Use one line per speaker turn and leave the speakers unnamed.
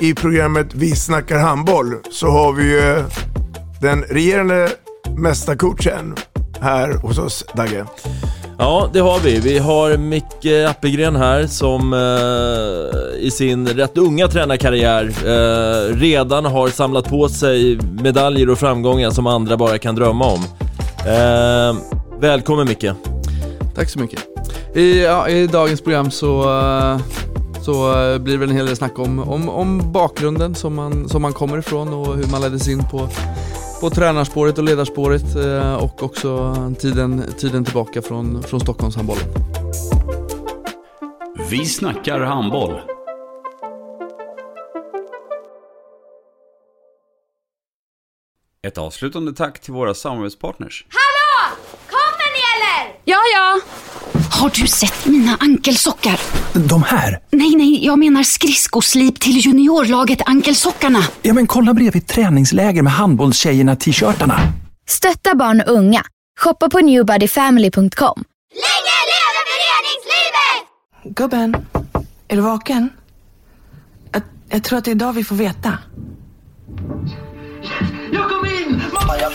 i programmet Vi snackar handboll så har vi ju den regerande mästarcoachen här hos oss, Dagge.
Ja, det har vi. Vi har Micke Appelgren här som eh, i sin rätt unga tränarkarriär eh, redan har samlat på sig medaljer och framgångar som andra bara kan drömma om. Eh, välkommen Micke!
Tack så mycket. I, ja, i dagens program så, eh, så eh, blir det väl en hel del snack om, om, om bakgrunden som man, som man kommer ifrån och hur man leddes in på, på tränarspåret och ledarspåret eh, och också tiden, tiden tillbaka från, från Stockholmshandbollen.
Vi snackar handboll. Ett avslutande tack till våra samarbetspartners.
Hallå! Kommer ni eller?
Ja, ja. Har du sett mina ankelsockar?
De här?
Nej, nej, jag menar skridskoslip till juniorlaget Ankelsockarna.
Ja, men kolla bredvid träningsläger med handbollstjejerna-t-shirtarna.
Stötta barn och unga. Shoppa på newbodyfamily.com.
Länge leve föreningslivet!
Gubben, är du vaken? Jag, jag tror att det är idag vi får veta.
Jag kom in! Mamma, jag